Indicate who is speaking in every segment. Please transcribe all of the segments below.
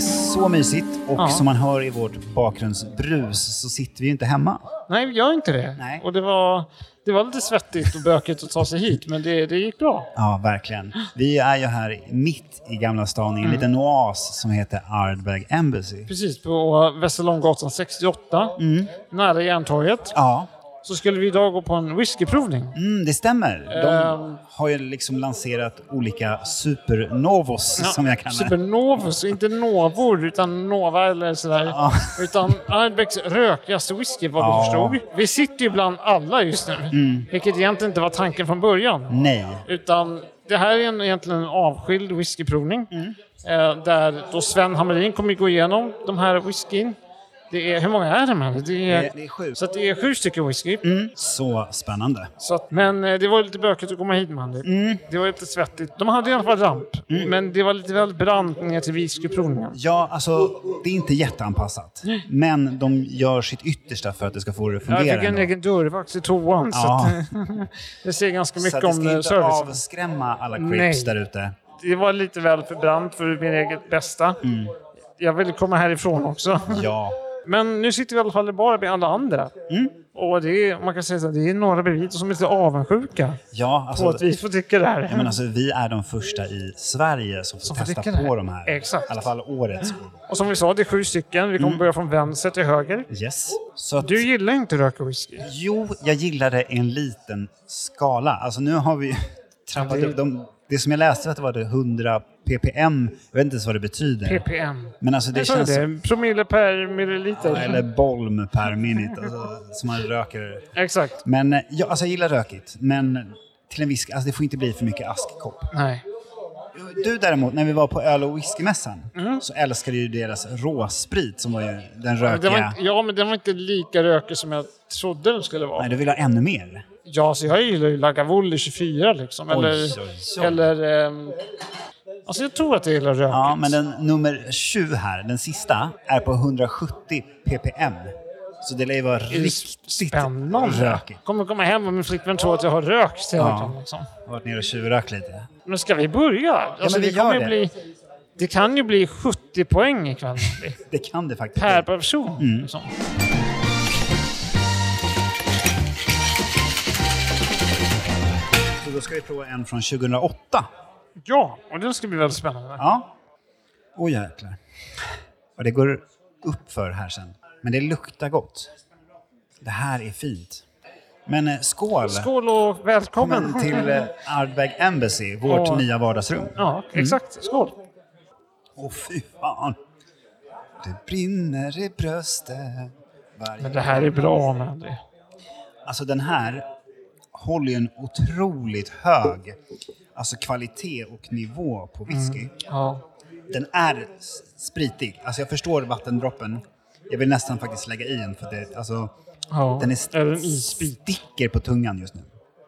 Speaker 1: så mysigt och
Speaker 2: Ja.
Speaker 1: som man hör i vårt bakgrundsbrus så sitter vi ju inte hemma.
Speaker 2: Nej, vi gör inte det.
Speaker 1: Nej.
Speaker 2: Och det var, det var lite svettigt och bökigt att ta sig hit, men det, det gick bra.
Speaker 1: Ja, verkligen. Vi är ju här mitt i Gamla stan
Speaker 2: Mm.
Speaker 1: i en liten oas som heter Ardbeg Embassy.
Speaker 2: Precis på Västerlånggatan 68,
Speaker 1: Mm.
Speaker 2: nära Järntorget,
Speaker 1: Ja,
Speaker 2: så skulle vi idag gå på en whiskyprovning.
Speaker 1: mm, det stämmer.
Speaker 2: Ehm.
Speaker 1: De har ju liksom lanserat olika supernovos som jag kallar det.
Speaker 2: Supernovus, inte novor, utan nova eller sådär.
Speaker 1: Ja.
Speaker 2: Utan Ardbecks rökigaste whisky, vad vi
Speaker 1: Ja. Mm.
Speaker 2: förstod. Vi sitter ju bland alla just nu, vilket egentligen inte var tanken från början.
Speaker 1: Nej.
Speaker 2: Utan det här är en, egentligen en avskild whiskyprovning.
Speaker 1: Mm.
Speaker 2: Eh, där då Sven Hamrin kommer gå igenom de här whiskyn. Det är, hur många är de här? Det är,
Speaker 1: Eh, Det- det är sju.
Speaker 2: Så att det är sju stycken whisky.
Speaker 1: Mm, så spännande.
Speaker 2: Så att, men eh, det var lite bökigt att komma hit med Andy.
Speaker 1: Mm.
Speaker 2: Det var lite svettigt. De hade i alla fall ramp, men det var lite väl brant ner till whiskyprovningen.
Speaker 1: Ja, alltså det är inte jätteanpassat. Men de gör sitt yttersta för att det ska få det att fungera.
Speaker 2: Jag fick en
Speaker 1: ändå.
Speaker 2: egen dörrvakt till toan, så
Speaker 1: Ja.
Speaker 2: att, det säger ganska
Speaker 1: Så
Speaker 2: mycket
Speaker 1: att det
Speaker 2: om
Speaker 1: ska
Speaker 2: eh,
Speaker 1: inte
Speaker 2: servicen.
Speaker 1: avskrämma alla
Speaker 2: Nej.
Speaker 1: creeps där ute.
Speaker 2: Det var lite väl för brant för min eget bästa. Jag ville komma härifrån också.
Speaker 1: Mm. Ja.
Speaker 2: Men nu sitter vi i alla fall bara med alla andra.
Speaker 1: Mm.
Speaker 2: Och det är, man kan säga att det är några bredvid som är lite avundsjuka
Speaker 1: Ja,
Speaker 2: på
Speaker 1: alltså,
Speaker 2: att vi får tycka det här.
Speaker 1: men alltså, vi är de första i Sverige som får
Speaker 2: får
Speaker 1: testa
Speaker 2: dricka det här.
Speaker 1: på de här.
Speaker 2: Exakt.
Speaker 1: I alla fall årets. år.
Speaker 2: Och som vi sa, det är sju stycken. Vi kommer
Speaker 1: Mm.
Speaker 2: börja från vänster till höger.
Speaker 1: Yes. Så att,
Speaker 2: Du gillar inte röka whisky.
Speaker 1: Jo, jag gillar det i en liten skala. Alltså nu har vi trappat
Speaker 2: det-
Speaker 1: upp. De, det som jag läste att det var det 100 ppm. Jag vet inte ens vad det betyder.
Speaker 2: PPM.
Speaker 1: men alltså det
Speaker 2: Det känns...
Speaker 1: känns...
Speaker 2: det. Promille per milliliter.
Speaker 1: Eller bolm per minute, alltså, som man röker.
Speaker 2: Exakt.
Speaker 1: Men eh, ja, alltså jag gillar rökigt, men till en viss... Alltså det får inte bli för mycket askkopp.
Speaker 2: Nej.
Speaker 1: Du däremot, när vi var på öl och whiskymässan så älskade ju deras råsprit som var ju den
Speaker 2: Men det var
Speaker 1: rökiga.
Speaker 2: inte, Mm. ja, men den var inte lika rökig som jag trodde den skulle vara.
Speaker 1: Nej, du vill ha ännu mer.
Speaker 2: Ja, så jag gillar ju Lagavulin 24 liksom. Eller...
Speaker 1: oj, oj.
Speaker 2: eller ehm, alltså jag tror att jag gillar rökigt.
Speaker 1: Ja, men den nummer 20 här, den sista, är på 170 ppm. Så det lär ju vara
Speaker 2: Det är
Speaker 1: riktigt
Speaker 2: spännande.
Speaker 1: rökigt.
Speaker 2: Kommer komma hem och min flickvän tror att jag har rökt hela
Speaker 1: Ja.
Speaker 2: tiden. Liksom.
Speaker 1: Jag har varit nere och tjurrökt lite.
Speaker 2: Men ska vi börja? Alltså,
Speaker 1: men vi
Speaker 2: det, kommer
Speaker 1: gör
Speaker 2: ju
Speaker 1: det.
Speaker 2: Bli, det kan ju bli 70 poäng ikväll.
Speaker 1: Det kan det faktiskt
Speaker 2: per
Speaker 1: bli.
Speaker 2: person.
Speaker 1: Mm.
Speaker 2: Liksom.
Speaker 1: Så då ska vi prova en från 2008.
Speaker 2: Ja, och det ska bli väldigt spännande.
Speaker 1: Ja. Åh jäklar. Och det går upp för här sen. Men det luktar gott. Det här är fint. Men eh, skål!
Speaker 2: Skål och välkommen!
Speaker 1: Välkommen till eh, Mm. Ardbeg Embassy, vårt
Speaker 2: Ja.
Speaker 1: nya vardagsrum.
Speaker 2: Ja, exakt. Skål!
Speaker 1: Åh fy fan! Det brinner i bröstet. Varje...
Speaker 2: Men det här är bra, Mandy.
Speaker 1: Alltså den här håller ju en otroligt hög alltså kvalitet och nivå på whisky.
Speaker 2: Ja.
Speaker 1: Den är s- spritig. Alltså jag förstår vattendroppen. Jag vill nästan faktiskt lägga i en för det, alltså,
Speaker 2: Ja.
Speaker 1: den är
Speaker 2: Eller
Speaker 1: st-
Speaker 2: en isbit.
Speaker 1: sticker på tungan just nu.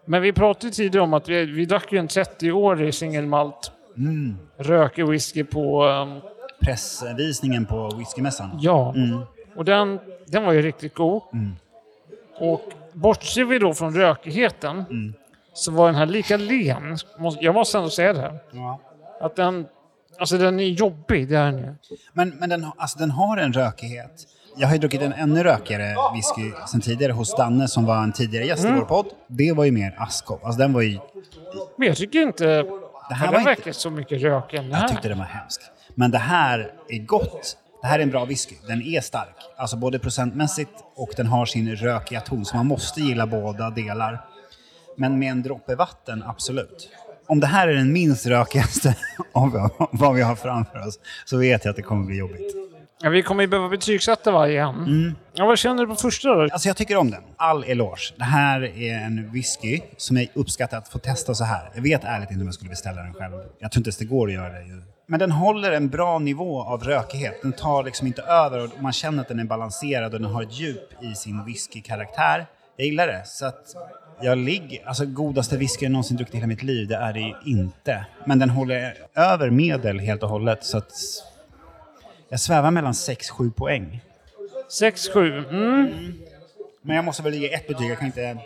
Speaker 2: Men vi pratade ju tidigare om att vi, vi drack ju en 30-årig singelmalt
Speaker 1: Mm.
Speaker 2: rökig whisky på ehm,
Speaker 1: Pressvisningen på whiskymässan.
Speaker 2: Ja,
Speaker 1: Mm.
Speaker 2: och den, den var ju riktigt god. Och bortser vi då från rökigheten
Speaker 1: Mm.
Speaker 2: så var den här lika len. Må- Jag måste ändå säga det. här.
Speaker 1: Ja.
Speaker 2: Att den, alltså den är jobbig, det är den ju.
Speaker 1: Men, men den, har- alltså den har en rökighet. Jag har ju druckit en ännu rökigare whisky sen tidigare hos Danne som var en tidigare gäst i vår podd. Det var ju mer askkopp. Alltså den var ju...
Speaker 2: Men jag tycker inte... Det
Speaker 1: här
Speaker 2: här
Speaker 1: var
Speaker 2: den
Speaker 1: inte-
Speaker 2: verkar så mycket rök än det
Speaker 1: Jag
Speaker 2: här.
Speaker 1: tyckte den var hemsk. Men det här är gott. Det här är en bra whisky. Den är stark. Alltså både procentmässigt och den har sin rökiga ton. Så man måste gilla båda delar. Men med en droppe vatten, absolut. Om det här är den minst rökigaste av vad vi har framför oss så vet jag att det kommer bli jobbigt.
Speaker 2: Ja, vi kommer ju behöva betygsätta varje en.
Speaker 1: Mm.
Speaker 2: Ja, vad känner du på första då?
Speaker 1: Alltså jag tycker om den. All eloge. Det här är en whisky som jag uppskattar att få testa så här. Jag vet ärligt inte om jag skulle beställa den själv. Jag tror inte ens det går att göra det. ju. Men den håller en bra nivå av rökighet. Den tar liksom inte över och man känner att den är balanserad och den har ett djup i sin whiskykaraktär. Jag gillar det. Så att jag ligger... Alltså godaste whisky jag någonsin druckit i hela mitt liv, det är det ju inte. Men den håller över medel helt och hållet. Så att jag svävar mellan 6-7 poäng.
Speaker 2: 6-7. Mm.
Speaker 1: Men jag måste väl ge ett betyg, jag kan inte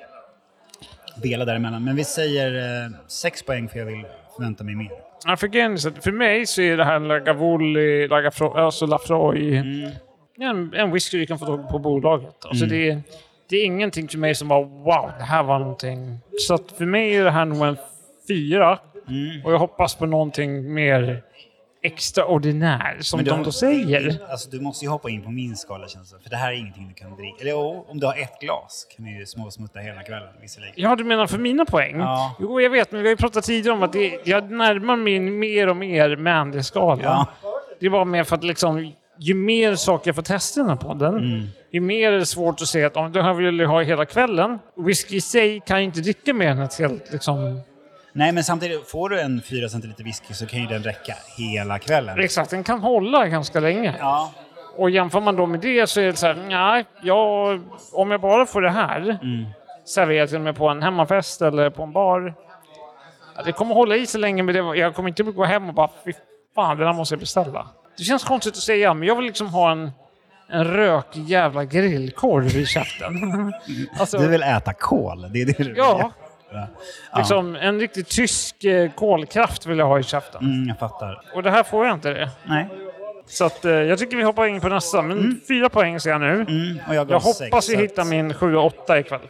Speaker 1: vela däremellan. Men vi säger eh, sex poäng för jag vill förvänta mig mer.
Speaker 2: Ja, för, grejen är så att för mig så är det här Lagavulin, Lagafro, alltså Lafroy,
Speaker 1: Mm.
Speaker 2: en, en whisky du kan få tag på bolaget. Alltså det, är- det är ingenting för mig som var wow, det här var någonting. Så att för mig är det här nog en fyra.
Speaker 1: Mm.
Speaker 2: Och jag hoppas på någonting mer extraordinär, som
Speaker 1: Men du
Speaker 2: de
Speaker 1: har-
Speaker 2: då säger.
Speaker 1: Alltså, du måste ju hoppa in på min skala känns det För det här är ingenting du kan dricka. Eller jo, om du har ett glas kan du ju småsmutta hela kvällen visserligen.
Speaker 2: Ja, du menar för mina poäng?
Speaker 1: Ja.
Speaker 2: Jo, jag vet, men vi har ju pratat tidigare om att det, jag närmar mig mer och mer Mandy-skalan.
Speaker 1: Ja.
Speaker 2: Det var mer för att liksom, ju mer saker jag får testa i den här podden, ju mer är det svårt att se att om det här vill jag ha hela kvällen. Whisky i sig kan ju inte dricka mer än ett helt... Liksom,
Speaker 1: Nej, men samtidigt, får du en 4 centiliter whisky så kan ju den räcka hela kvällen.
Speaker 2: exakt, den kan hålla ganska länge.
Speaker 1: Ja,
Speaker 2: Och jämför man då med det så är det så här, nej, jag, om jag bara får det här serverat till och med på en hemmafest eller på en bar. ja, Det kommer hålla i sig länge, men det, jag kommer inte gå hem och bara, fy fan, det där måste jag beställa. Det känns konstigt att säga, men jag vill liksom ha en, en rökig jävla grillkorv i käften. alltså,
Speaker 1: du vill äta kol. Det är det du
Speaker 2: Ja.
Speaker 1: vill göra. Ja.
Speaker 2: liksom, en riktigt tysk eh, kolkraft vill jag ha i käften.
Speaker 1: Mm, jag fattar.
Speaker 2: Och det här får jag inte det.
Speaker 1: Nej.
Speaker 2: Så att, eh, jag tycker vi hoppar in på nästa, men fyra poäng ser jag nu.
Speaker 1: Mm, och jag gav
Speaker 2: Jag
Speaker 1: sex,
Speaker 2: hoppas vi
Speaker 1: så att-
Speaker 2: hittar min 7-8 ikväll.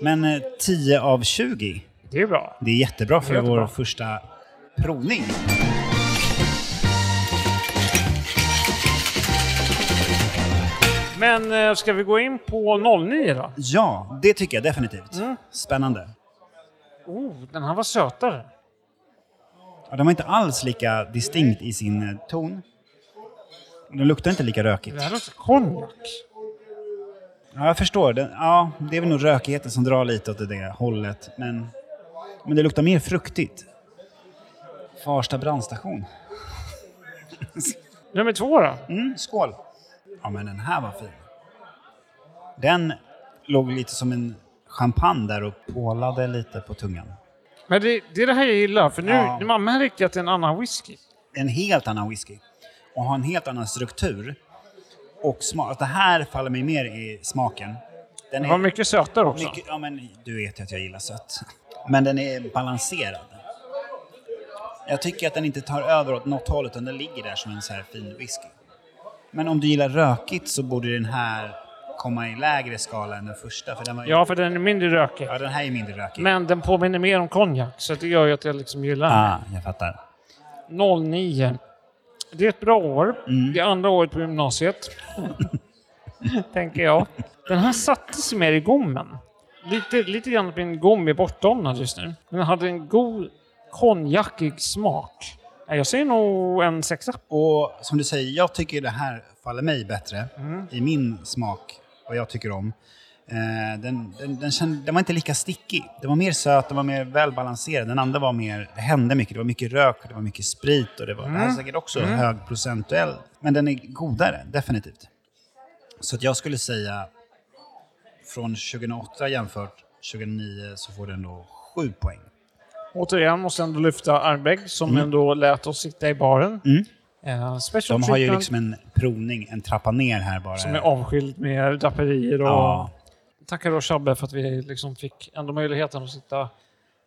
Speaker 1: Men eh, 10 av 20.
Speaker 2: Det är bra.
Speaker 1: Det är jättebra för
Speaker 2: Jättebra.
Speaker 1: vår första provning.
Speaker 2: Men eh, ska vi gå in på 09 då?
Speaker 1: Ja, det tycker jag definitivt. Spännande.
Speaker 2: Oh, den här var sötare.
Speaker 1: Ja, den var inte alls lika distinkt i sin eh, ton. Den luktar inte lika rökigt.
Speaker 2: Det här låter konjak.
Speaker 1: Ja, jag förstår. Den, ja, det är väl nog rökigheten som drar lite åt det hållet. Men, men det luktar mer fruktigt. Farsta brandstation.
Speaker 2: Nummer två då?
Speaker 1: Mm, skål! Ja, men den här var fin. Den låg lite som en champagne där och pålade lite på tungan.
Speaker 2: Men det, det är det här jag gillar, för nu
Speaker 1: Ja.
Speaker 2: man märker att det är en annan whisky.
Speaker 1: en helt annan whisky och har en helt annan struktur och smak. Det här faller mig mer i smaken. Den
Speaker 2: Den var
Speaker 1: är
Speaker 2: mycket sötare också.
Speaker 1: mycket, ja, men du vet ju att jag gillar sött. Men den är balanserad. Jag tycker att den inte tar över åt något håll utan den ligger där som en så här fin whisky. Men om du gillar rökigt så borde den här komma i lägre skala än den första. För den, var,
Speaker 2: Ja, för den är mindre rökig.
Speaker 1: ja, den här är mindre rökig.
Speaker 2: Men den påminner mer om konjak, så det gör ju att jag liksom gillar den.
Speaker 1: Ah, jag fattar.
Speaker 2: 09. Det är ett bra år.
Speaker 1: Mm.
Speaker 2: Det är andra året på gymnasiet. Tänker jag. Den här satte sig mer i gommen. Lite, lite grann att min gom är bortdomnad just nu. Men den hade en god konjakig smak. Nej, Jag säger nog en sexa.
Speaker 1: Och som du säger, jag tycker det här faller mig bättre
Speaker 2: Mm.
Speaker 1: i min smak, vad jag tycker om. Eh, den, den, den, kände, den var inte lika stickig. Den var mer söt, den var mer välbalanserad. Den andra var mer, det hände mycket. Det var mycket rök, det var mycket sprit och det var det
Speaker 2: Mm.
Speaker 1: här är säkert också hög procentuell. Men den är godare, definitivt. Så att jag skulle säga från 2008 jämfört 2009 så får den då 7 poäng.
Speaker 2: Återigen måste jag ändå lyfta Arbeg som
Speaker 1: Mm.
Speaker 2: ändå lät oss sitta i baren. Eh, special
Speaker 1: De har ju
Speaker 2: treatment
Speaker 1: liksom en provning, en trappa ner här bara.
Speaker 2: som är avskild med draperier och
Speaker 1: Ja.
Speaker 2: tackar då Shabbe för att vi liksom fick ändå möjligheten att sitta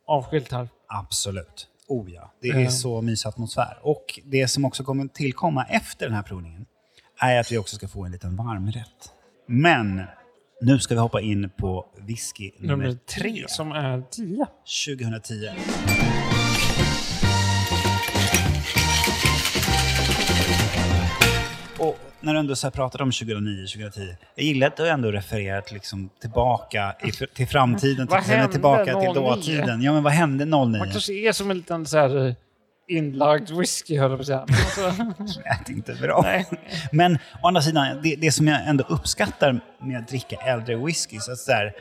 Speaker 2: avskilt här.
Speaker 1: Absolut. Oh ja. Det
Speaker 2: Eh.
Speaker 1: är så mysig atmosfär. Och det som också kommer tillkomma efter den här provningen är att vi också ska få en liten varmrätt. Men nu ska vi hoppa in på whisky nummer
Speaker 2: nummer
Speaker 1: tre,
Speaker 2: tre som är 10.
Speaker 1: 2010. Och när du ändå så här pratade om 2009-2010, jag gillar att du ändå refererat liksom tillbaka i, till framtiden,
Speaker 2: Vad
Speaker 1: till, eller
Speaker 2: hände
Speaker 1: tillbaka till
Speaker 2: 09?
Speaker 1: dåtiden. Ja, men vad hände 09?
Speaker 2: Man kanske är som en liten så här eh, inlagd whisky, höll jag på att säga. Men Alltså,
Speaker 1: lät inte bra.
Speaker 2: Nej.
Speaker 1: Men å andra sidan, det, det som jag ändå uppskattar med att dricka äldre whisky, så att så här,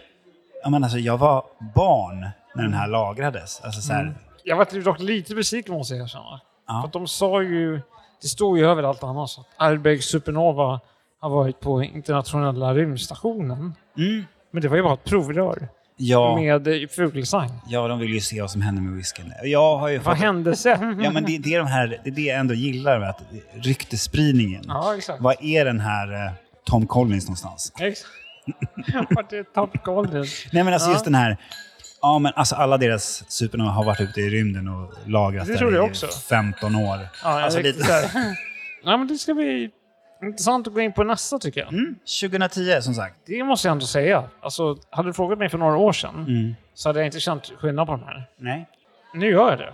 Speaker 1: jag, menar, alltså, jag var barn när den
Speaker 2: Mm.
Speaker 1: här lagrades. Alltså, så här,
Speaker 2: jag var typ dock lite besviken måste jag erkänna.
Speaker 1: Ja.
Speaker 2: För att de sa ju, det stod ju överallt annars, att Arberg Supernova har varit på internationella rymdstationen.
Speaker 1: Mm.
Speaker 2: Men det var ju bara ett provrör
Speaker 1: ja,
Speaker 2: med eh, fågelsang.
Speaker 1: ja, de vill ju se vad som händer med whiskyn. Jag har ju
Speaker 2: Vad
Speaker 1: fått,
Speaker 2: hände sen?
Speaker 1: ja, men det, det, är de här, det är det jag ändå gillar med att, ryktespridningen.
Speaker 2: Ja, exakt.
Speaker 1: Vad är den här eh, Tom Collins någonstans?
Speaker 2: Exakt. Vart är Top Golden?
Speaker 1: Nej men alltså
Speaker 2: Ja.
Speaker 1: just den här, Ja, men alltså alla deras supernova har varit ute i rymden och lagrat
Speaker 2: Det tror jag
Speaker 1: i
Speaker 2: också.
Speaker 1: 15 år.
Speaker 2: Ja,
Speaker 1: alltså,
Speaker 2: riktigt
Speaker 1: lite.
Speaker 2: så här. ja, men det ska bli intressant att gå in på nästa tycker jag.
Speaker 1: Mm, 2010 som sagt.
Speaker 2: Det måste jag ändå säga. Alltså, hade du frågat mig för några år sedan
Speaker 1: Mm.
Speaker 2: så hade jag inte känt skillnad på de här.
Speaker 1: Nej. Nu
Speaker 2: Nu gör jag det.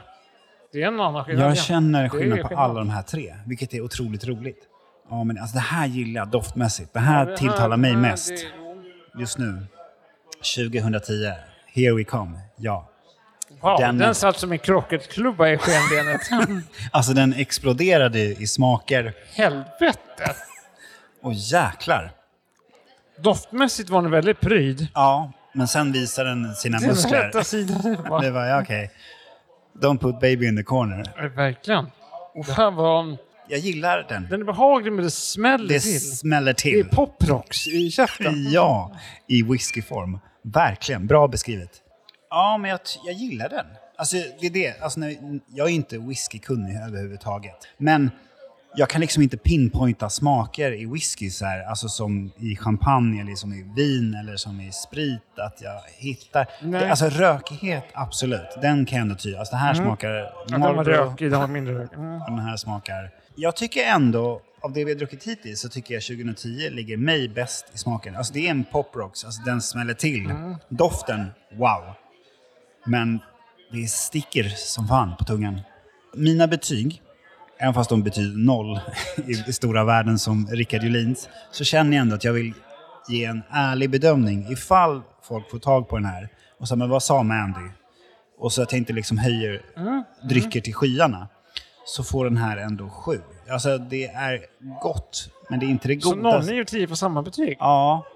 Speaker 2: Det är en annan skillnad.
Speaker 1: Jag
Speaker 2: igen. Det är
Speaker 1: känner
Speaker 2: ju
Speaker 1: skillnad på alla de här tre, vilket är otroligt roligt. Ja, men alltså det här gillar jag doftmässigt. Det här
Speaker 2: Det här-
Speaker 1: tilltalar mig
Speaker 2: det här-
Speaker 1: mest
Speaker 2: det-
Speaker 1: just nu. 2010. Here we come. Ja.
Speaker 2: Wow,
Speaker 1: Den-
Speaker 2: den, satt som en krocketklubba i skenbenet.
Speaker 1: Alltså den exploderade ju i smaker.
Speaker 2: Helvete!
Speaker 1: Och jäklar.
Speaker 2: Doftmässigt var den väldigt pryd.
Speaker 1: Ja, men sen visar den sina
Speaker 2: Den
Speaker 1: muskler.
Speaker 2: rätta sidan var...
Speaker 1: Det var ja, okej. Don't put baby in the corner.
Speaker 2: Ja, Verkligen. Och det här var...
Speaker 1: Jag gillar den.
Speaker 2: Den är behaglig men det smäller
Speaker 1: Det
Speaker 2: till.
Speaker 1: smäller
Speaker 2: Det är
Speaker 1: till.
Speaker 2: poprocks i käften.
Speaker 1: Ja, i whiskyform. Verkligen, bra beskrivet. Ja, men jag, jag gillar den. Alltså, det är det. Alltså, när- jag är inte whiskykunnig överhuvudtaget. Men jag kan liksom inte pinpointa smaker i whisky så här, alltså som i champagne eller som i vin eller som i sprit, att jag hittar.
Speaker 2: Nej. Mm.
Speaker 1: Alltså rökighet, absolut. Den kan jag ändå tyda. Alltså det här smakar
Speaker 2: Ja, Den var rökig, den var mindre rökig. Mm.
Speaker 1: vad den här smakar. Jag tycker ändå, av det vi har druckit hittills, så tycker jag 2010 ligger mig bäst i smaken. Alltså det är en poprocks, alltså den smäller till. Doften, wow. Men det sticker som fan på tungan. Mina betyg, även fast de betyder noll i i stora världen som Rickard Julins, så känner jag ändå att jag vill ge en ärlig bedömning ifall folk får tag på den här. Och så, men vad sa Mandy? Och så att jag inte liksom höjer drycker till skyarna så får den här ändå sju. Alltså det är gott, men det är inte det
Speaker 2: Så
Speaker 1: godaste.
Speaker 2: 09 och 10 på samma betyg?
Speaker 1: Ja.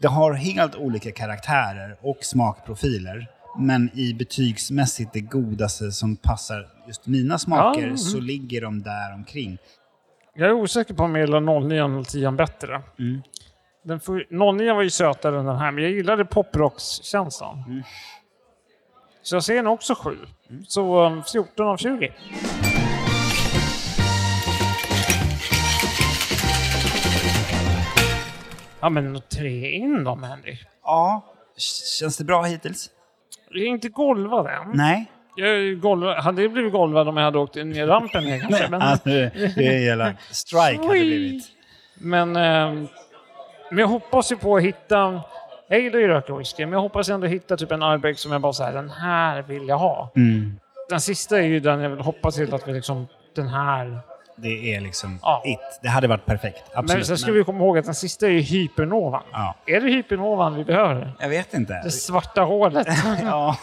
Speaker 1: Det har helt olika karaktärer och smakprofiler. Men i betygsmässigt det godaste som passar just mina smaker
Speaker 2: Ja, mm.
Speaker 1: så ligger de där omkring.
Speaker 2: Jag är osäker på om jag gillar 09 och 10 bättre.
Speaker 1: Mm.
Speaker 2: Den för, 09 var ju sötare än den här, men jag gillade poprocks-känslan.
Speaker 1: Mm.
Speaker 2: Så jag ser den också 7. Så um, 14 av 20. Ja, men tre in då, Mandy.
Speaker 1: Ja, känns det bra hittills?
Speaker 2: Jag är inte golvad än.
Speaker 1: Nej.
Speaker 2: Jag är golvad, hade jag blivit golvad om jag hade åkt ner rampen ner kanske. Men,
Speaker 1: Alltså, det är jävla strike hade det blivit.
Speaker 2: men, ehm, men jag hoppas ju på att hitta... Jag gillar ju rökig whisky, men jag hoppas ändå hitta typ en Arbeck som jag bara så här, den här vill jag ha.
Speaker 1: Mm.
Speaker 2: Den sista är ju den jag vill hoppas till att vi liksom, den här...
Speaker 1: Det är liksom
Speaker 2: Ja.
Speaker 1: it. Det hade varit perfekt. Absolut.
Speaker 2: men sen ska
Speaker 1: men-
Speaker 2: vi komma ihåg att den sista är ju hypernovan.
Speaker 1: ja.
Speaker 2: Är det hypernovan vi behöver?
Speaker 1: Jag vet inte.
Speaker 2: Det svarta hålet.
Speaker 1: Ja,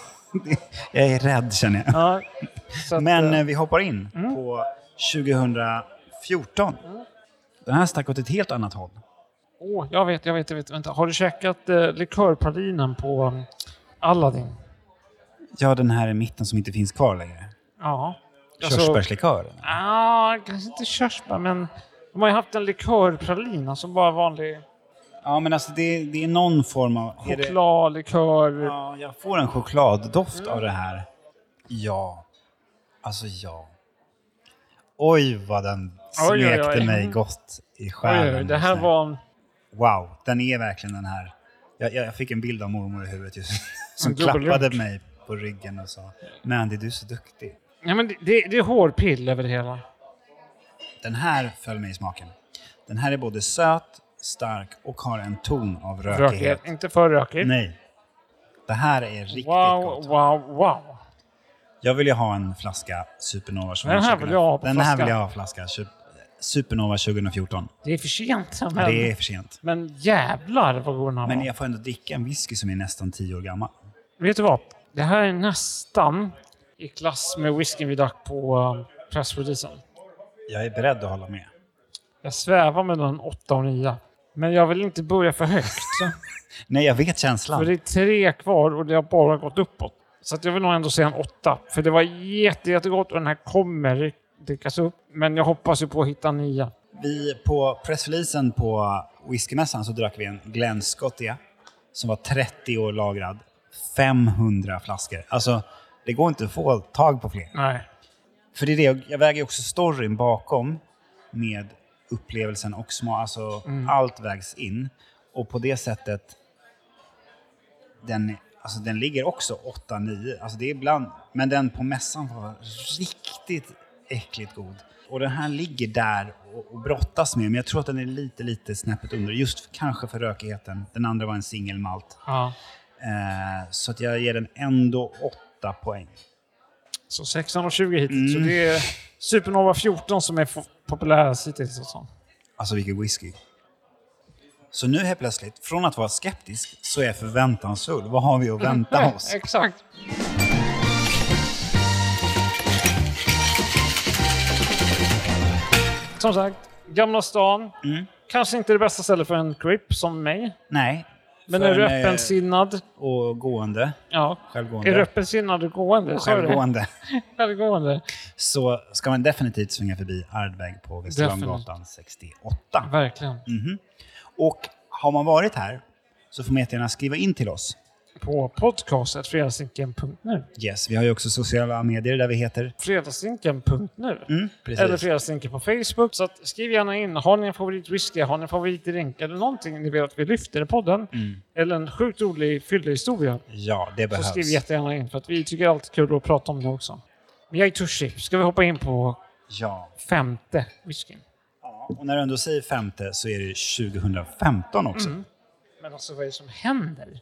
Speaker 1: det- jag är rädd känner jag.
Speaker 2: ja, så att,
Speaker 1: Men
Speaker 2: eh,
Speaker 1: eh, vi hoppar in på 2014. Den här stack åt ett helt annat håll.
Speaker 2: Åh, jag vet, jag vet, jag vet. Vänta, har du käkat eh, likörpralinen på um, Aladdin?
Speaker 1: Ja, den här i mitten som inte finns kvar längre.
Speaker 2: Ja. Alltså,
Speaker 1: Körsbärslikör.
Speaker 2: Ja, Ah, kanske inte körsbär, men de har ju haft en likörpralin, alltså bara vanlig
Speaker 1: Ja, men alltså det, det är någon form av... är det,
Speaker 2: choklad, likör.
Speaker 1: ja, jag får en chokladdoft av det här. Ja. Alltså ja. Oj, vad den
Speaker 2: Oj, oj,
Speaker 1: smekte
Speaker 2: oj.
Speaker 1: mig gott i
Speaker 2: Oj,
Speaker 1: själen.
Speaker 2: oj, det här
Speaker 1: just nu.
Speaker 2: var...
Speaker 1: Wow, den är verkligen den här. Jag, jag, jag fick en bild av mormor i huvudet just som
Speaker 2: En dubbel
Speaker 1: klappade mig på ryggen och sa Mandy, du är så duktig.
Speaker 2: Ja, men det, det, det är hårpill över det hela.
Speaker 1: Den här föll mig i smaken. Den här är både söt, stark och har en ton av rökighet.
Speaker 2: Rökigt. Inte för rökigt.
Speaker 1: Nej. Det här är riktigt
Speaker 2: wow,
Speaker 1: gott.
Speaker 2: wow, wow.
Speaker 1: Jag vill ju ha en flaska Supernova. som
Speaker 2: Den här
Speaker 1: 2000.
Speaker 2: vill jag ha på
Speaker 1: Den här
Speaker 2: flaska.
Speaker 1: vill jag ha på flaska. Sup- Supernova 2014.
Speaker 2: Det är för sent,
Speaker 1: Men...
Speaker 2: men,
Speaker 1: Det är för sent.
Speaker 2: men jävlar vad god den här
Speaker 1: Men
Speaker 2: var.
Speaker 1: jag får ändå dricka en whisky som är nästan tio år gammal.
Speaker 2: Vet du vad? Det här är nästan i klass med whiskyn vi drack på eh, pressreleasen.
Speaker 1: Jag är beredd att hålla med.
Speaker 2: Jag svävar mellan 8 och 9. Men jag vill inte börja för högt.
Speaker 1: Nej, jag vet känslan.
Speaker 2: för det är tre kvar och det har bara gått uppåt. Så att jag vill nog ändå säga en 8. För det var jätte, jättegott och den här kommer drickas upp. Men jag hoppas ju på att hitta en 9.
Speaker 1: Vi på pressreleasen på whiskymässan så drack vi en Glen Scotia som var 30 år lagrad, 500 flaskor. Alltså, det går inte att få tag på fler.
Speaker 2: Nej.
Speaker 1: För det är det, jag väger ju också storyn bakom med upplevelsen och små, alltså allt vägs in. Och på det sättet, den, Alltså den ligger också 8-9. Alltså det är ibland, men den på mässan var riktigt äckligt god. Och den här ligger där och, och brottas med, men jag tror att den är lite, lite snäppet under. Just kanske för rökigheten. Den andra var en singelmalt.
Speaker 2: Ja.
Speaker 1: Eh, så att jag ger den ändå 8 poäng.
Speaker 2: Så 16,20 hittills. Så det är Supernova 14 som är f- populärast hittills. liksom. Och sånt.
Speaker 1: Alltså vilken whisky. Så nu helt plötsligt, från att vara skeptisk, så är jag förväntansfull. Vad har vi att vänta
Speaker 2: Nej,
Speaker 1: oss?
Speaker 2: Exakt. Som sagt, Gamla stan. Kanske inte det bästa stället för en grip som mig.
Speaker 1: Nej.
Speaker 2: Men
Speaker 1: För
Speaker 2: är du
Speaker 1: en, eh,
Speaker 2: öppensinnad?
Speaker 1: Och gående.
Speaker 2: Ja.
Speaker 1: Självgående.
Speaker 2: Är du öppensinnad och gående? sa du det?
Speaker 1: Självgående. Mm.
Speaker 2: Självgående.
Speaker 1: Så ska man definitivt svänga förbi Ardbeg på Västerlånggatan 68.
Speaker 2: Verkligen.
Speaker 1: Mm. Och har man varit här så får man jättegärna skriva in till oss.
Speaker 2: På podcastet fredagsdrinken.nu.
Speaker 1: Yes, vi har ju också sociala medier där vi heter...
Speaker 2: Fredagsdrinken.nu.
Speaker 1: Mm, precis.
Speaker 2: Eller Fredagsdrinken på Facebook. Så att skriv gärna in. Har ni en favoritwhisky? Har ni en favoritdrink? Eller någonting ni vill att vi lyfter i podden? Eller en sjukt rolig fyllehistoria?
Speaker 1: Ja, det
Speaker 2: Så
Speaker 1: Mm. behövs.
Speaker 2: skriv jättegärna in för att vi tycker alltid kul att prata om det också. Men jag är törstig. Ska vi hoppa in på
Speaker 1: Ja.
Speaker 2: femte whiskyn?
Speaker 1: ja. Och när du ändå säger femte så är det 2015 också.
Speaker 2: Men alltså vad är det som händer?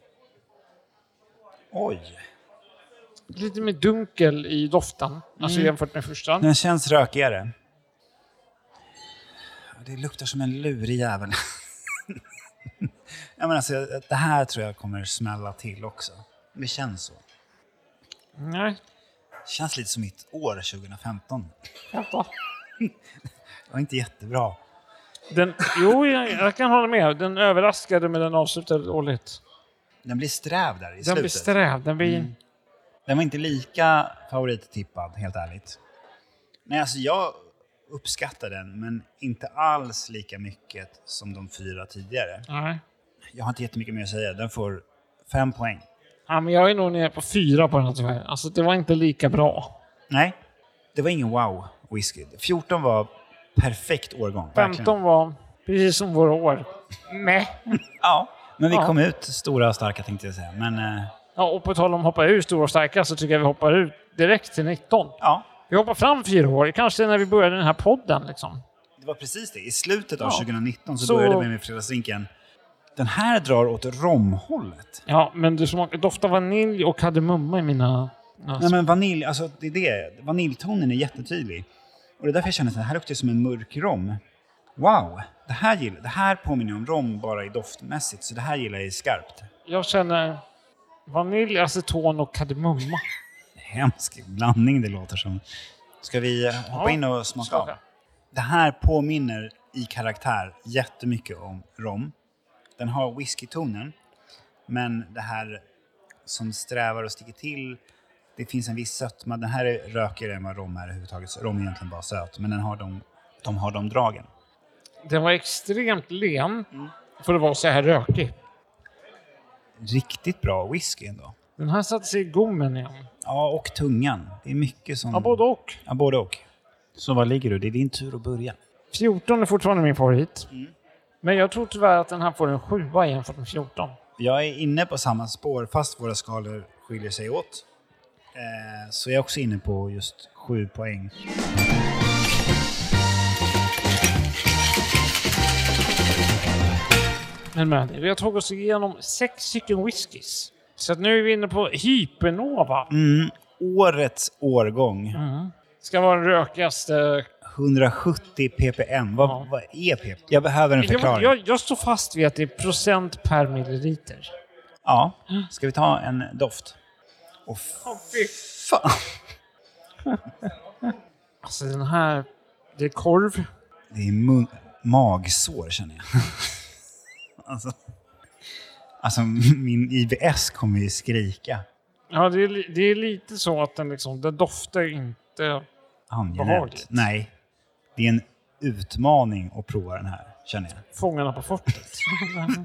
Speaker 1: Oj!
Speaker 2: Lite mer dunkel i doften, alltså
Speaker 1: Mm.
Speaker 2: jämfört med första.
Speaker 1: Den känns rökigare. Det luktar som en lurig jävel. jag menar, alltså, det här tror jag kommer smälla till också. Det känns så.
Speaker 2: Nej,
Speaker 1: känns lite som mitt år 2015.
Speaker 2: vänta.
Speaker 1: Det var inte jättebra.
Speaker 2: Den, jo, jag, jag kan hålla med. Den överraskade men den avslutade dåligt.
Speaker 1: Den blir sträv där i
Speaker 2: Den
Speaker 1: slutet.
Speaker 2: blir sträv. Den blir...
Speaker 1: Mm. Den var inte lika favorittippad, helt ärligt. Nej, alltså jag uppskattar den, men inte alls lika mycket som de fyra tidigare.
Speaker 2: Nej.
Speaker 1: Jag har inte jättemycket mer att säga. Den får fem poäng.
Speaker 2: Ja, men jag är nog nere på fyra på den här tyvärr. Alltså det var inte lika bra.
Speaker 1: Nej, det var ingen wow-whisky. 14 var perfekt årgång. verkligen.
Speaker 2: 15 var precis som våra år. Meh.
Speaker 1: Ja, men vi
Speaker 2: Ja.
Speaker 1: kom ut stora och starka tänkte jag säga. Men eh,
Speaker 2: Ja, och på tal om hoppa ur stora och starka så tycker jag vi hoppar ut direkt till 19.
Speaker 1: ja,
Speaker 2: Vi hoppar fram fyra år, kanske när vi började den här podden. Liksom.
Speaker 1: Det var precis det. I slutet av
Speaker 2: Ja.
Speaker 1: 2019 så,
Speaker 2: Så-
Speaker 1: började vi med fredagsdrinken. Den här drar åt romhållet.
Speaker 2: Ja, men du smakar, doftar vanilj och kardemumma i mina...
Speaker 1: Nej, men vanilj, alltså det är det. Vaniljtonen är jättetydlig. Och det är därför jag känner att det här luktar ju som en mörk rom. Wow! Det här, gillar, det här påminner om rom bara i doftmässigt, så det här gillar jag skarpt.
Speaker 2: Jag känner vanilj, aceton och kardemumma.
Speaker 1: Hemsk blandning det låter som. Ska vi hoppa
Speaker 2: Ja,
Speaker 1: in och smaka av?
Speaker 2: smaka.
Speaker 1: Det här påminner i karaktär jättemycket om rom. Den har whiskytonen, men det här som strävar och sticker till, det finns en viss sötma. Den här är rökigare än vad rom är överhuvudtaget. Så Rom är egentligen bara söt, men den har de, de, har de dragen.
Speaker 2: Den var extremt len för att vara så här rökig.
Speaker 1: Riktigt bra whisky ändå.
Speaker 2: Den här satte sig i gommen igen.
Speaker 1: Ja, och tungan. Det är mycket som...
Speaker 2: Ja, både och.
Speaker 1: Ja, både och. Så var ligger du? Det är din tur att börja.
Speaker 2: 14 är fortfarande min favorit. Men jag tror tyvärr att den här får en sjua jämfört med 14.
Speaker 1: Jag är inne på samma spår fast våra skalor skiljer sig åt. Eh, så jag är också inne på just sju poäng.
Speaker 2: Men med det, vi har tagit oss igenom sex stycken whiskys. Så att nu är vi inne på Hypernova.
Speaker 1: Mm, årets årgång,
Speaker 2: Ska vara den rökigaste.
Speaker 1: 170 ppm. Vad,
Speaker 2: Ja.
Speaker 1: vad är ppm? Jag behöver en
Speaker 2: Jag,
Speaker 1: förklaring.
Speaker 2: jag, jag står fast vid att det är procent per milliliter.
Speaker 1: Ja, ska vi ta en doft? Åh
Speaker 2: Åh, fy.
Speaker 1: fan!
Speaker 2: Alltså den här, det är korv.
Speaker 1: Det är mun- magsår känner jag. alltså, alltså min IBS kommer ju skrika.
Speaker 2: Ja, det är, li- det är lite så att den liksom, den doftar inte.
Speaker 1: Angenämt.
Speaker 2: Behagligt.
Speaker 1: Nej. Det är en utmaning att prova den här, känner jag.
Speaker 2: Fångarna på fortet.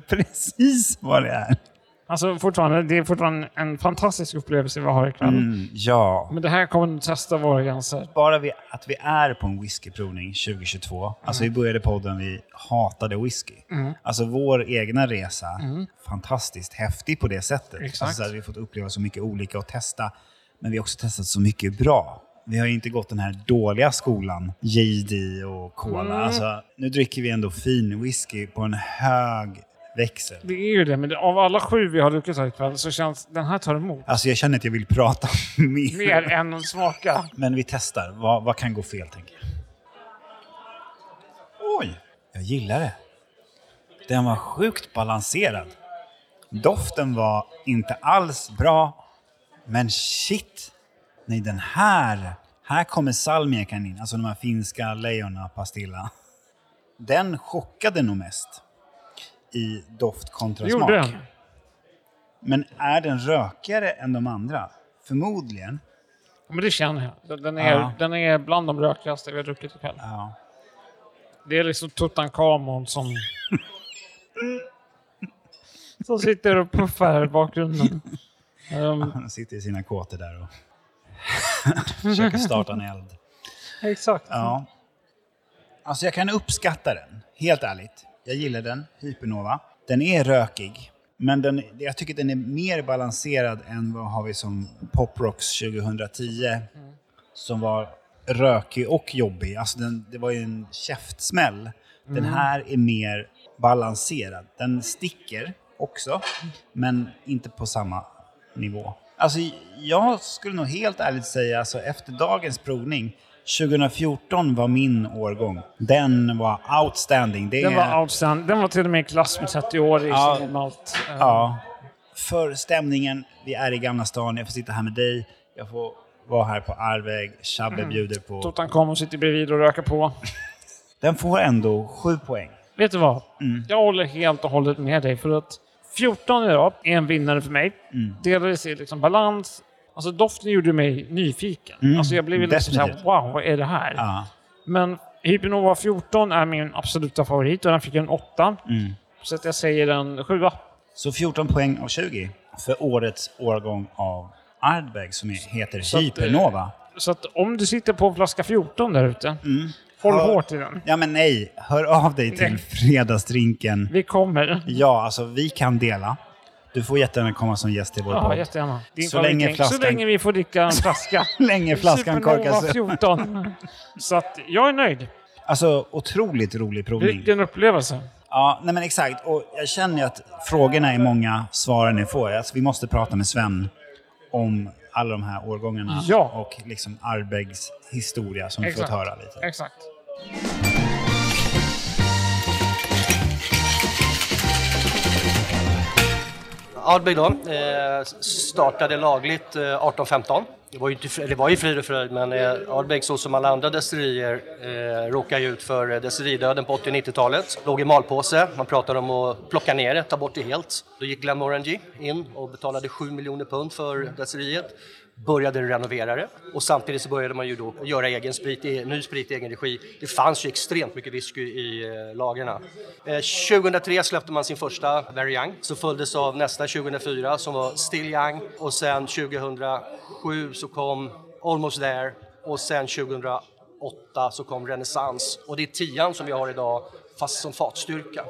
Speaker 1: Precis vad det är.
Speaker 2: Alltså fortfarande, det är fortfarande en fantastisk upplevelse vi har ikväll.
Speaker 1: Mm, ja.
Speaker 2: Men det här kommer att testa våra gränser.
Speaker 1: Bara vi, att vi är på en whiskyprovning 2022. Alltså vi började podden, vi hatade whisky.
Speaker 2: Mm.
Speaker 1: Alltså vår egna resa, fantastiskt häftig på det sättet.
Speaker 2: Exakt.
Speaker 1: Alltså, så här, vi har fått uppleva så mycket olika och testa. Men vi har också testat så mycket bra. Vi har ju inte gått den här dåliga skolan, JD och Cola.
Speaker 2: Mm.
Speaker 1: Alltså, nu dricker vi ändå fin whisky på en hög växel.
Speaker 2: Det är ju det, men det- av alla sju vi har druckit här ikväll så känns den här tar emot
Speaker 1: Alltså jag känner att jag vill prata mer.
Speaker 2: mer än att smaka.
Speaker 1: Men vi testar. Vad, vad kan gå fel, tänker jag. Oj! Jag gillar det. Den var sjukt balanserad. Doften var inte alls bra. Men shit! Nej, den här... Här kommer salmiakan in, alltså de här finska lejonen, pastilla. Den chockade nog mest i doft kontra
Speaker 2: Det
Speaker 1: smak.
Speaker 2: gjorde den.
Speaker 1: Men är den rökigare än de andra? Förmodligen.
Speaker 2: Men det känner jag. Den- Den är,
Speaker 1: Ja.
Speaker 2: den är bland de rökigaste vi har druckit ikväll.
Speaker 1: Ja.
Speaker 2: Det är liksom Tutankhamon som... som sitter och puffar här i bakgrunden. Ehm,
Speaker 1: Han sitter i sina kåtor där och försöker starta en eld.
Speaker 2: exakt.
Speaker 1: Ja. Alltså jag kan uppskatta den, helt ärligt. Jag gillar den, Hypernova. Den är rökig, men den, jag tycker den är mer balanserad än vad har vi som Poprocks 2010 som var rökig och jobbig. Alltså den, det var ju en käftsmäll. Den
Speaker 2: Mm.
Speaker 1: här är mer balanserad. Den sticker också, men inte på samma nivå. Alltså, jag skulle nog helt ärligt säga, alltså, efter dagens provning, 2014 var min årgång. Den var outstanding. Det
Speaker 2: Den
Speaker 1: är,
Speaker 2: var outstanding. Den var till och med i klass med 30-årig
Speaker 1: Ja.
Speaker 2: som malt. Ehm,
Speaker 1: Ja. För stämningen, vi är i Gamla stan, jag får sitta här med dig, jag får vara här på Arväg, Shabbe
Speaker 2: Mm.
Speaker 1: bjuder på...
Speaker 2: Tutankhamon sitter bredvid och röker på.
Speaker 1: Den får ändå sju poäng.
Speaker 2: Vet du vad?
Speaker 1: Mm.
Speaker 2: Jag håller helt och hållet med dig. För att 14 idag är en vinnare för mig.
Speaker 1: Mm.
Speaker 2: Delvis i liksom balans. Alltså doften gjorde mig nyfiken. Alltså jag blev liksom såhär,
Speaker 1: Mm. definitivt.
Speaker 2: wow, vad är det här?
Speaker 1: Ja.
Speaker 2: Men Hypernova 14 är min absoluta favorit och den fick en 8.
Speaker 1: Mm.
Speaker 2: Så att jag säger en 7.
Speaker 1: Så 14 poäng av 20 för årets årgång av Ardbeg som är- heter
Speaker 2: att, eh,
Speaker 1: Hypernova.
Speaker 2: Så att om du sitter på en flaska 14 där ute, håll
Speaker 1: Mm. Ja.
Speaker 2: hårt i den.
Speaker 1: Ja men nej, hör av dig till
Speaker 2: Nej.
Speaker 1: Fredagsdrinken.
Speaker 2: Vi kommer.
Speaker 1: Ja, alltså vi kan dela. Du får jättegärna komma som gäst till vår
Speaker 2: Ja,
Speaker 1: podd.
Speaker 2: jättegärna. Din
Speaker 1: Så
Speaker 2: favorit-
Speaker 1: länge
Speaker 2: så
Speaker 1: flaskan-
Speaker 2: länge vi får dricka en flaska.
Speaker 1: Länge flaskan
Speaker 2: Supernova
Speaker 1: korkas.
Speaker 2: 14. Så att jag är nöjd.
Speaker 1: Alltså otroligt rolig provning.
Speaker 2: Vilken upplevelse.
Speaker 1: Ja, nej men exakt. Och jag känner ju att frågorna är många, svaren är få. Alltså, vi måste prata med Sven om alla de här årgångarna
Speaker 2: Ja.
Speaker 1: och liksom Arbegs historia som vi fått
Speaker 2: Exakt.
Speaker 1: höra lite.
Speaker 2: Exakt.
Speaker 3: Ardbeg då, eh, startade lagligt eh, 1815. Det var ju, inte, fri- det var ju frid och fröjd, men eh, Ardbeg så som alla andra destillerier eh, råkade ju ut för eh, destilleridöden på 80 och 90-talet. Låg i malpåse, man pratade om att plocka ner det, ta bort det helt. Då gick Glamorgangie in och betalade 7 miljoner pund för destilleriet började renovera det och samtidigt så började man ju då göra egen sprit, i- ny sprit i egen regi. Det fanns ju extremt mycket whisky i eh, lagarna. Eh, 2003 släppte man sin första Very Young, som följdes av nästa 2004 som var Still Young och sen 2007 så kom Almost There och sen 2008 så kom Renaissance och det är tian som vi har idag fast som fatstyrka.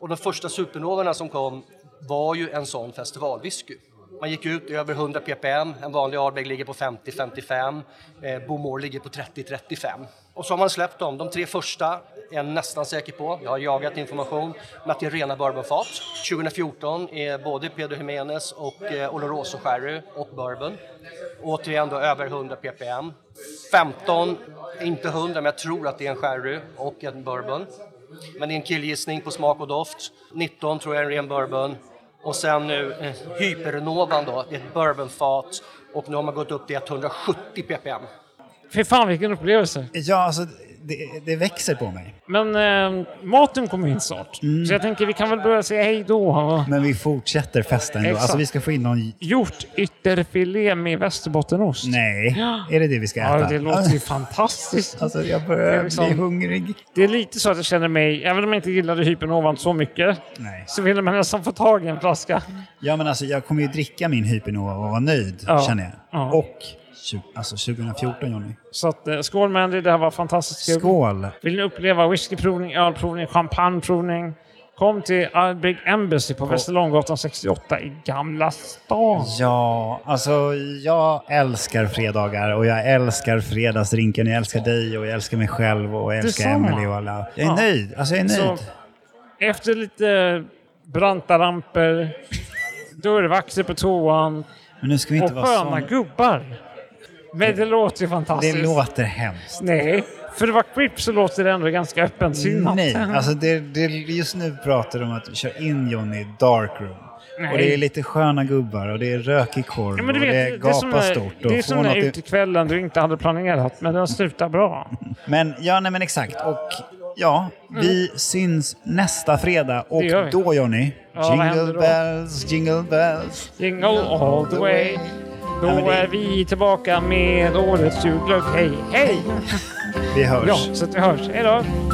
Speaker 3: Och de första supernoverna som kom var ju en sån festivalwhisky. Man gick ut över 100 ppm, en vanlig Ardbeg ligger på 50-55, eh, Bomor ligger på 30-35. Och så har man släppt dem, de tre första är jag nästan säker på, jag har jagat information, men att det är rena bourbonfat. 2014 är både Pedro Jiménez och eh, Oloroso Sherry och bourbon. Återigen då över 100 ppm. 15, inte 100 men jag tror att det är en sherry och en bourbon. Men det är en killgissning på smak och doft. 19 tror jag är en ren bourbon. Och sen nu eh, Hypernovan då, det är ett bourbonfat och nu har man gått upp till 170 ppm.
Speaker 2: Fy fan vilken upplevelse.
Speaker 1: Ja, alltså det, det växer på mig.
Speaker 2: Men eh, maten kommer in snart,
Speaker 1: Mm.
Speaker 2: så jag tänker vi kan väl börja säga hej då.
Speaker 1: Men vi fortsätter festen ändå.
Speaker 2: Exakt.
Speaker 1: Alltså vi ska få in någon...
Speaker 2: Hjortytterfilé med västerbottenost.
Speaker 1: Nej,
Speaker 2: Ja.
Speaker 1: är det det vi ska äta?
Speaker 2: Ja, det låter ju fantastiskt.
Speaker 1: Alltså jag
Speaker 2: Det
Speaker 1: börjar
Speaker 2: är liksom-
Speaker 1: bli hungrig.
Speaker 2: Det är lite så att jag känner mig, även om jag inte gillade hypernovan så mycket,
Speaker 1: Nej.
Speaker 2: så ville man nästan få tag i en flaska.
Speaker 1: Ja men alltså jag kommer ju dricka min Hypernova och vara nöjd
Speaker 2: Ja.
Speaker 1: känner jag.
Speaker 2: Ja.
Speaker 1: Och tju- alltså 2014 Johnny.
Speaker 2: Så att, eh, skål med Andy, det här var fantastiskt kul.
Speaker 1: Skål!
Speaker 2: Vill ni uppleva whiskyprovning, ölprovning, champagneprovning? Kom till Arbig Embassy på Västerlånggatan 68 i Gamla stan.
Speaker 1: Ja, alltså jag älskar fredagar och jag älskar fredagsrinken. Jag älskar dig och jag älskar mig själv och jag älskar
Speaker 2: Detsamma.
Speaker 1: Emelie och alla. Jag är
Speaker 2: Ja.
Speaker 1: nöjd. Alltså jag är
Speaker 2: Så
Speaker 1: nöjd.
Speaker 2: efter lite branta ramper, dörrvakter på toan
Speaker 1: Men nu ska vi
Speaker 2: och
Speaker 1: inte vara
Speaker 2: sköna
Speaker 1: sån.
Speaker 2: gubbar. Men det låter ju
Speaker 1: Det
Speaker 2: fantastiskt.
Speaker 1: låter hemskt.
Speaker 2: Nej, för att vara Crip så låter det ändå ganska öppensinnat.
Speaker 1: Nej, alltså det, det, just nu pratar de om att köra in Johnny i darkroom.
Speaker 2: Nej.
Speaker 1: Och det är lite sköna gubbar och det är rökig korv
Speaker 2: Ja, men du
Speaker 1: och
Speaker 2: vet,
Speaker 1: det är
Speaker 2: det är som,
Speaker 1: gapa
Speaker 2: när-
Speaker 1: stort. Och
Speaker 2: det är
Speaker 1: få
Speaker 2: som den
Speaker 1: något
Speaker 2: där
Speaker 1: i-
Speaker 2: utekvällen du inte hade planerat, men den slutar bra.
Speaker 1: Men ja, nej, men exakt. Och ja, vi syns nästa fredag. Och
Speaker 2: Mm. Det gör vi.
Speaker 1: då Johnny,
Speaker 2: vad händer
Speaker 1: jingle
Speaker 2: då?
Speaker 1: bells, jingle bells.
Speaker 2: Jingle all the way. Då
Speaker 1: Ja, men det-
Speaker 2: är vi tillbaka med årets julglögg. Hej, hej!
Speaker 1: Vi hörs.
Speaker 2: Ja, så att vi hörs. Hej då!